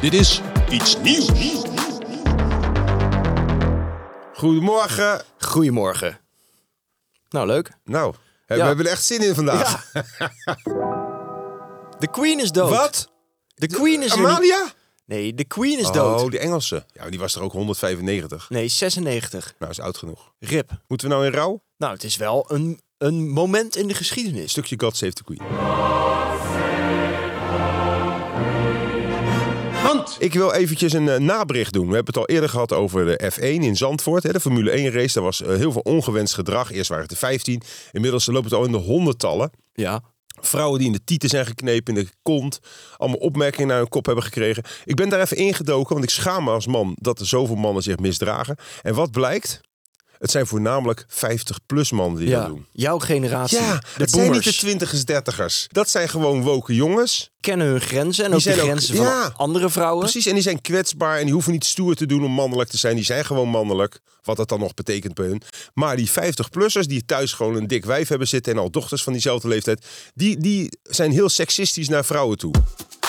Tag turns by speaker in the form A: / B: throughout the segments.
A: Dit is iets nieuws.
B: Goedemorgen.
C: Goedemorgen. Nou, leuk.
B: Nou, hè, we
C: Ja.
B: hebben er echt zin in vandaag.
C: De Queen is dood.
B: Wat?
C: De Queen is er niet.
B: Amalia?
C: Nee, de Queen is
B: Oh,
C: dood.
B: de Engelse. Ja, die was er ook 195.
C: Nee, 96.
B: Nou, is oud genoeg.
C: Rip.
B: Moeten we nou in rouw?
C: Nou, het is wel een, een moment in de geschiedenis.
B: Stukje God Save the Queen.
A: Want
B: Ik wil eventjes een eh, nabericht doen. We hebben het al eerder gehad over de F1 in Zandvoort. Hè, de Formule 1 race. Daar was eh, heel veel ongewenst gedrag. Eerst waren het de 15. Inmiddels loopt het al in de honderdtallen.
C: Ja.
B: Vrouwen die in de tieten zijn geknepen, in de kont. Allemaal opmerkingen naar hun kop hebben gekregen. Ik ben daar even ingedoken, want ik schaam me als man dat er zoveel mannen zich misdragen. En wat blijkt? Het zijn voornamelijk 50-plus mannen die dat
C: ja.
B: doen.
C: Jouw generatie.
B: Ja,
C: de
B: het zijn niet
C: boomers
B: de twintigers, dertigers. Dat zijn gewoon woke jongens.
C: kennen hun grenzen en ook de
B: zijn ook-
C: grenzen
B: ja.
C: van andere vrouwen.
B: Precies, en die zijn kwetsbaar en die hoeven niet stoer te doen om mannelijk te zijn. Die zijn gewoon mannelijk, wat dat dan nog betekent bij hun. Maar die 50-plussers die thuis gewoon een dik wijf hebben zitten en al dochters van diezelfde leeftijd, die, die zijn heel seksistisch naar vrouwen toe.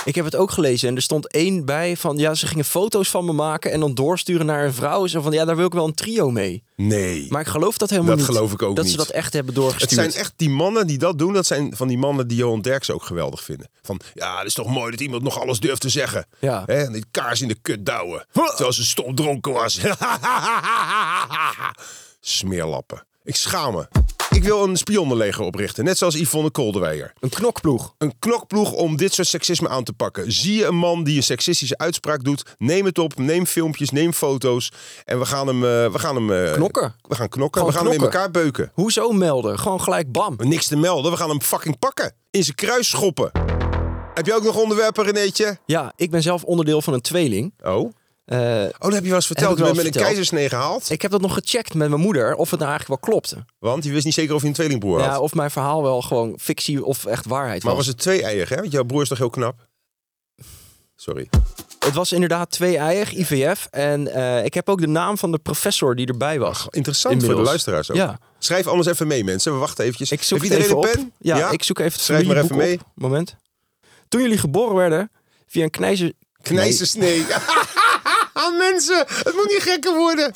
C: Ik heb het ook gelezen en er stond één bij van... Ja, ze gingen foto's van me maken en dan doorsturen naar een vrouw. Zo van, ja, daar wil ik wel een trio mee.
B: Nee.
C: Maar ik geloof dat helemaal
B: Dat
C: niet.
B: geloof ik ook
C: Dat
B: niet.
C: ze dat echt hebben
B: Het
C: doorgestuurd.
B: zijn echt die mannen die dat doen, dat zijn van die mannen die Johan Derks ook geweldig vinden. Van ja, het is toch mooi dat iemand nog alles durft te zeggen.
C: Ja.
B: Hè, die kaars in de kut douwen. Terwijl ze stom dronken was. Smeerlappen. Ik schaam me. Ik wil een spionnenleger oprichten, net zoals Yvonne Kolderweijer.
C: Een knokploeg.
B: Een knokploeg om dit soort seksisme aan te pakken. Zie je een man die een seksistische uitspraak doet, neem het op, neem filmpjes, neem foto's. En we gaan hem... eh, we gaan hem eh,
C: Knokken.
B: We gaan knokken.
C: Gewoon
B: we gaan hem in
C: knokken.
B: elkaar beuken.
C: Hoezo melden? Gewoon gelijk bam.
B: Niks te melden, we gaan hem fucking pakken. In zijn kruis schoppen. Heb je ook nog onderwerpen, Renéetje?
C: Ja, ik ben zelf onderdeel van een tweeling.
B: Oh. Oh,
C: Eh,
B: dat heb je wel eens verteld.
C: ik
B: Ik
C: wel
B: ben met
C: eens
B: een
C: verteld.
B: keizersnee gehaald.
C: ik heb dat nog gecheckt met mijn moeder of het nou eigenlijk wel klopte.
B: Want je wist niet zeker of je een tweelingbroer had.
C: Ja, of mijn verhaal wel gewoon fictie of echt waarheid
B: maar
C: was.
B: was het twee-eier, hè? Want jouw broer is toch heel knap? Sorry.
C: Het was inderdaad twee-eiig, IVF. En eh, ik heb ook de naam van de professor die erbij was.
B: Interessant voor
C: Inmiddels.
B: de luisteraars ook.
C: Ja.
B: Schrijf anders even mee, mensen. We wachten eventjes.
C: Ik zoek
B: Heeft
C: het
B: iedereen
C: even
B: een
C: op.
B: pen?
C: Ja, ik zoek even het
B: Schrijf maar even
C: familieboek
B: mee.
C: op. Moment. Toen jullie geboren werden, via een knijzer...
B: Knijzersnee. Ah, mensen, het moet niet gekker worden.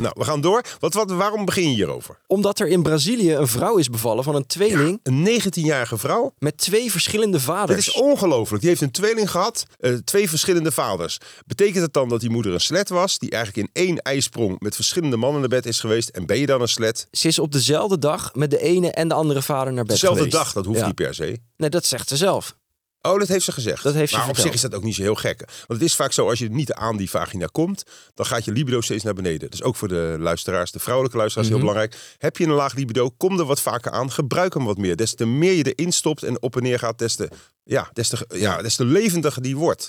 B: Nou, we gaan door. Wat, wat, waarom begin je hierover?
C: Omdat er in Brazilië een vrouw is bevallen van een tweeling
B: Een 19-jarige vrouw
C: met twee verschillende
B: Dit
C: vaders.
B: is ongelooflijk. Die heeft een tweeling gehad, eh, twee verschillende vaders. Betekent dat dan dat die moeder een slet was, die eigenlijk in één ijsprong met verschillende mannen naar bed is geweest? En ben je dan een slet?
C: Ze is op dezelfde dag met de ene en de andere vader naar bed
B: Dezelfde
C: geweest.
B: dag, dat hoeft
C: Ja.
B: niet per se.
C: Nee, dat zegt ze zelf.
B: Oh, dat heeft ze gezegd.
C: Dat heeft ze
B: maar op
C: verteld.
B: zich is dat ook niet zo heel gek. Want het is vaak zo, als je niet aan die vagina komt, dan gaat je libido steeds naar beneden. Dus ook voor de luisteraars, de vrouwelijke luisteraars,
C: Mhm.
B: heel belangrijk. Heb je een laag libido, kom er wat vaker aan, gebruik hem wat meer. Des te meer je erin stopt en op en neer gaat, des te, ja, des te, ja, des te levendiger die wordt.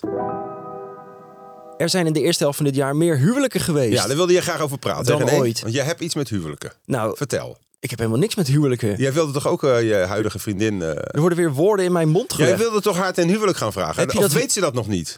C: Er zijn in de eerste helft van dit jaar meer huwelijken geweest.
B: Ja, daar wilde je graag over praten.
C: Dan
B: hè, René?
C: ooit.
B: Want jij hebt iets met huwelijken.
C: Nou,
B: Vertel.
C: ik heb helemaal niks met huwelijken.
B: Jij wilde toch ook eh, je huidige vriendin... eh,
C: Er worden weer woorden in mijn mond gelegd.
B: jij wilde toch haar ten huwelijk gaan vragen?
C: Heb je
B: of
C: dat-
B: weet ze dat nog niet?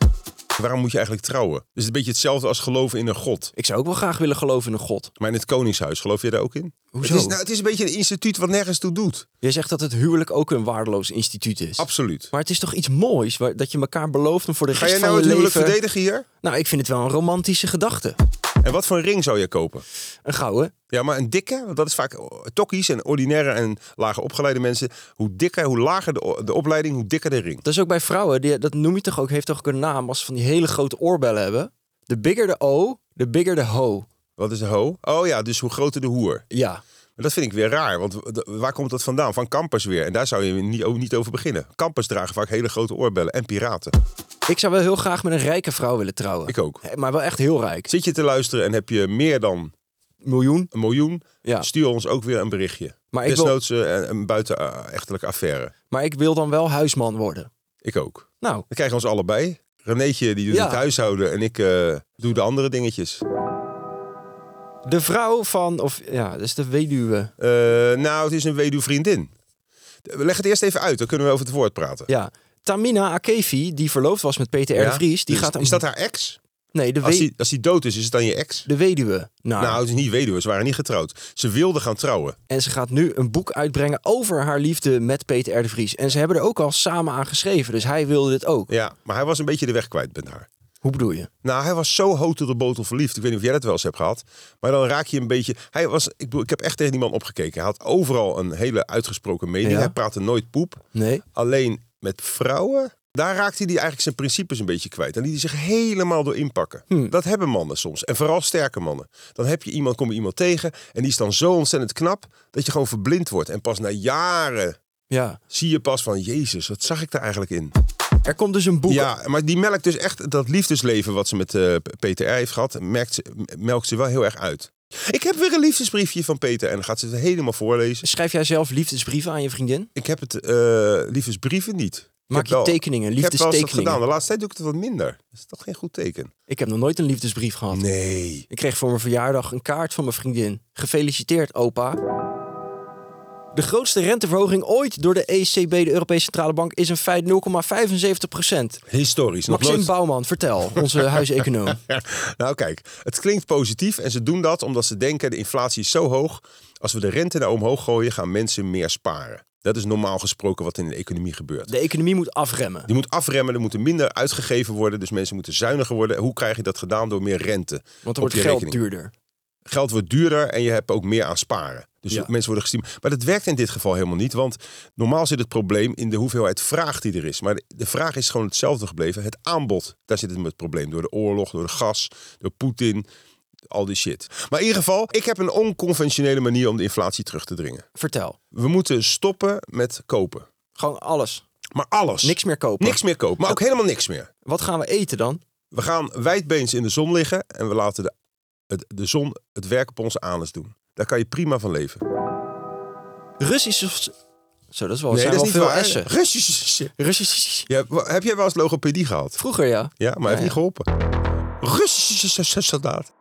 B: Waarom moet je eigenlijk trouwen? Dus een beetje hetzelfde als geloven in een god.
C: Ik zou ook wel graag willen geloven in een god.
B: Maar in het koningshuis, geloof je daar ook in?
C: Hoezo?
B: Het is, nou, het is een beetje een instituut wat nergens toe doet.
C: Jij zegt dat het huwelijk ook een waardeloos instituut is.
B: Absoluut.
C: maar het is toch iets moois waar, dat je elkaar belooft om voor de rest
B: Ga jij nou
C: van
B: het
C: je
B: huwelijk
C: leven...
B: verdedigen hier?
C: Nou, ik vind het wel een romantische gedachte.
B: En wat voor een ring zou je kopen?
C: Een gouden.
B: Ja, maar een dikke, want dat is vaak oh, tokkies en ordinaire en lager opgeleide mensen. Hoe dikker, hoe lager de, o- de opleiding, hoe dikker de ring.
C: Dat is ook bij vrouwen, die, dat noem je toch ook, heeft toch ook een naam als ze van die hele grote oorbellen hebben. De bigger de O, de bigger de ho.
B: Wat is de ho? Oh ja, dus hoe groter de hoer.
C: Ja.
B: Maar Dat vind ik weer raar, want w- d- waar komt dat vandaan? Van kampers weer. En daar zou je niet, ook niet over beginnen. Kampers dragen vaak hele grote oorbellen en piraten.
C: Ik zou wel heel graag met een rijke vrouw willen trouwen.
B: Ik ook.
C: Hè, Maar wel echt heel rijk.
B: Zit je te luisteren en heb je meer dan
C: Miljoen.
B: een miljoen?
C: Ja.
B: Stuur ons ook weer een berichtje.
C: Maar ik, wil,
B: Desnoods eh, een, een buitenechtelijke affaire.
C: maar ik wil dan wel huisman worden.
B: Ik ook.
C: Nou,
B: Dan krijgen we ons allebei. Renéetje die doet
C: Ja.
B: het huishouden en ik eh, doe de andere dingetjes.
C: De vrouw van, of ja, dat is de weduwe.
B: Eh, nou, het is een weduwvriendin. Leg het eerst even uit, dan kunnen we over het woord praten.
C: Ja. Tamina Akefi, die verloofd was met Peter R. de Vries, die
B: Dus
C: gaat... een-
B: Is dat haar ex?
C: Nee, de,
B: Als
C: we-
B: die, als die dood is, is het dan je ex?
C: de weduwe. Nou,
B: Nou, het is niet weduwe, ze waren niet getrouwd. Ze wilden gaan trouwen.
C: En ze gaat nu een boek uitbrengen over haar liefde met Peter R. de Vries. En ze hebben er ook al samen aan geschreven, dus hij wilde dit ook.
B: Ja, maar hij was een beetje de weg kwijt met haar.
C: Hoe bedoel je?
B: Nou, hij was zo hoog tot de botel verliefd. Ik weet niet of jij dat wel eens hebt gehad. Maar dan raak je een beetje... Hij was, ik, bedoel, ik heb echt tegen die man opgekeken. Hij had overal een hele uitgesproken mening.
C: Ja.
B: Hij praatte nooit poep.
C: Nee.
B: Alleen met vrouwen, daar raakte hij eigenlijk zijn principes een beetje kwijt. En liet hij zich helemaal door inpakken. Dat hebben mannen soms. En vooral sterke mannen. Dan heb je iemand, kom je iemand tegen. En die is dan zo ontzettend knap, dat je gewoon verblind wordt. En pas na jaren
C: Ja.
B: zie je pas van... Jezus, wat zag ik daar eigenlijk in?
C: Er komt dus een boek.
B: Ja, maar die melkt dus echt dat liefdesleven wat ze met eh, Peter R. heeft gehad, merkt ze, melkt ze wel heel erg uit. Ik heb weer een liefdesbriefje van Peter en dan gaat ze het helemaal voorlezen.
C: Schrijf jij zelf liefdesbrieven aan je vriendin?
B: Ik heb het eh, liefdesbrieven niet. Ik
C: Maak
B: heb
C: je tekeningen,
B: Ik heb wel eens dat
C: liefdestekeningen.
B: gedaan. De laatste tijd doe ik het wat minder. Dat is toch geen goed teken?
C: Ik heb nog nooit een liefdesbrief gehad.
B: Nee.
C: Ik kreeg voor mijn verjaardag een kaart van mijn vriendin. Gefeliciteerd, opa. De grootste renteverhoging ooit door de ECB, de Europese Centrale Bank, is in feite 0,75 procent.
B: Historisch. Nog
C: Maxime
B: nooit...
C: Bouwman, vertel, onze huiseconoom.
B: nou kijk, het klinkt positief en ze doen dat omdat ze denken de inflatie is zo hoog. Als we de rente naar omhoog gooien, gaan mensen meer sparen. Dat is normaal gesproken wat in de economie gebeurt.
C: De economie moet afremmen.
B: Die moet afremmen, er moet er minder uitgegeven worden. Dus mensen moeten zuiniger worden. Hoe krijg je dat gedaan? Door meer rente.
C: Want
B: op
C: dan wordt
B: je
C: geld
B: rekening.
C: duurder.
B: Geld wordt duurder en je hebt ook meer aan sparen. Dus
C: Ja.
B: mensen worden gestimuleerd. Maar dat werkt in dit geval helemaal niet. Want normaal zit het probleem in de hoeveelheid vraag die er is. Maar de- de vraag is gewoon hetzelfde gebleven. Het aanbod, daar zit het probleem. Door de oorlog, door de gas, door Poetin, al die shit. Maar in ieder geval, ik heb een onconventionele manier om de inflatie terug te dringen.
C: Vertel.
B: We moeten stoppen met kopen.
C: Gewoon alles.
B: Maar alles.
C: Niks meer kopen.
B: Niks meer kopen, maar ook helemaal niks meer.
C: Wat gaan we eten dan?
B: We gaan wijdbeens in de zon liggen en we laten de, het, de zon het werk op onze anus doen. Daar kan je prima van leven.
C: Russische... Zo, dat is wel, Oh, zijn wel veel essen.
B: Russisch.
C: Russische...
B: Ja, wa- heb jij wel eens logopedie gehad?
C: Vroeger, ja.
B: Ja, maar heeft
C: ja.
B: niet geholpen. Russische soldaat.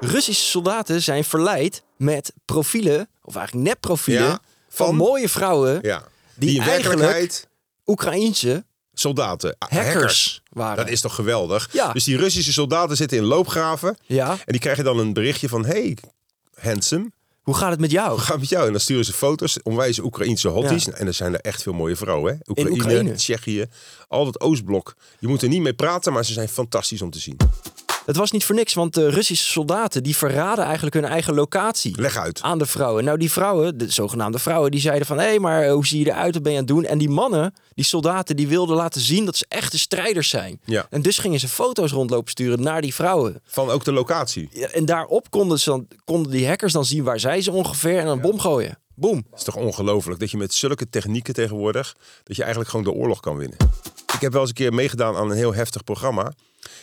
C: Russische soldaten zijn verleid met profielen, of eigenlijk nepprofielen,
B: Ja,
C: van,
B: van-
C: mooie vrouwen,
B: Ja.
C: Die
B: Die, in
C: eigenlijk
B: werkelijkheid
C: Oekraïense
B: soldaten, ah,
C: hackers,
B: hackers.
C: waren.
B: Dat is toch geweldig?
C: Ja.
B: Dus die Russische soldaten zitten in loopgraven
C: Ja,
B: en die krijgen dan een berichtje van... Hey, handsome,
C: hoe gaat het met jou?
B: Hoe gaat het met jou? En dan sturen ze foto's, onwijze Oekraïnse hotties.
C: Ja.
B: En er zijn er echt veel mooie vrouwen. Hè? Oekraïne,
C: Oekraïne.
B: Tsjechië, al dat Oostblok. Je moet er niet mee praten, maar ze zijn fantastisch om te zien.
C: Het was niet voor niks, want de Russische soldaten die verraden eigenlijk hun eigen locatie.
B: Leg uit.
C: aan de vrouwen. Nou, die vrouwen, de zogenaamde vrouwen, die zeiden van... hé, hey, maar eh, hoe zie je eruit? Wat ben je aan het doen? En die mannen, die soldaten, die wilden laten zien dat ze echte strijders zijn.
B: Ja.
C: En dus gingen ze foto's rondlopen sturen naar die vrouwen.
B: Van ook de locatie.
C: Ja, En daarop konden, ze dan, konden die hackers dan zien waar zij ze ongeveer... en een bom gooien. Boom.
B: Het is toch ongelooflijk dat je met zulke technieken tegenwoordig... dat je eigenlijk gewoon de oorlog kan winnen. Ik heb wel eens een keer meegedaan aan een heel heftig programma.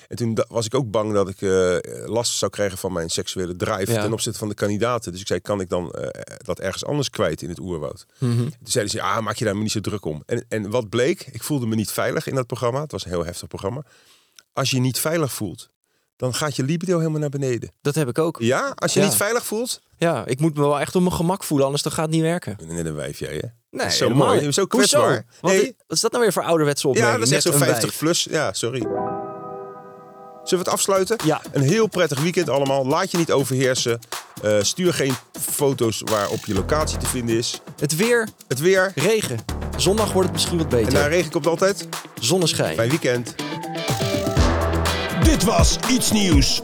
B: En toen da- was ik ook bang dat ik eh, last zou krijgen van mijn seksuele drive...
C: Ja.
B: ten opzichte van de kandidaten. Dus ik zei, kan ik dan eh, dat ergens anders kwijt in het oerwoud?
C: Mhm.
B: Toen zeiden ze, ah, maak je daar maar niet zo druk om. En, en wat bleek, ik voelde me niet veilig in dat programma. Het was een heel heftig programma. Als je je niet veilig voelt, dan gaat je libido helemaal naar beneden.
C: Dat heb ik ook. Ja.
B: Ja, als je
C: Ja.
B: niet veilig voelt...
C: ik moet me wel echt op mijn gemak voelen, anders dan gaat het niet werken.
B: Nee, dan wijf jij, hè?
C: Nee,
B: is zo
C: helemaal
B: mooi.
C: niet.
B: Dat is ook
C: Hoezo?
B: kwetsbaar.
C: Wat,
B: Nee.
C: wat is dat nou weer voor ouderwetse opmerking?
B: Ja, dat is echt
C: Net
B: zo'n
C: een
B: 50
C: wijf.
B: plus. Ja, sorry. Zullen we het afsluiten?
C: Ja.
B: Een heel prettig weekend allemaal. Laat je niet overheersen. Eh, stuur geen foto's waarop je locatie te vinden is.
C: Het weer,
B: Het weer.
C: regen. Zondag wordt het misschien wat
B: En na
C: beter.
B: regen komt altijd.
C: Zonneschijn.
B: Fijn weekend.
A: Dit was Iets Nieuws.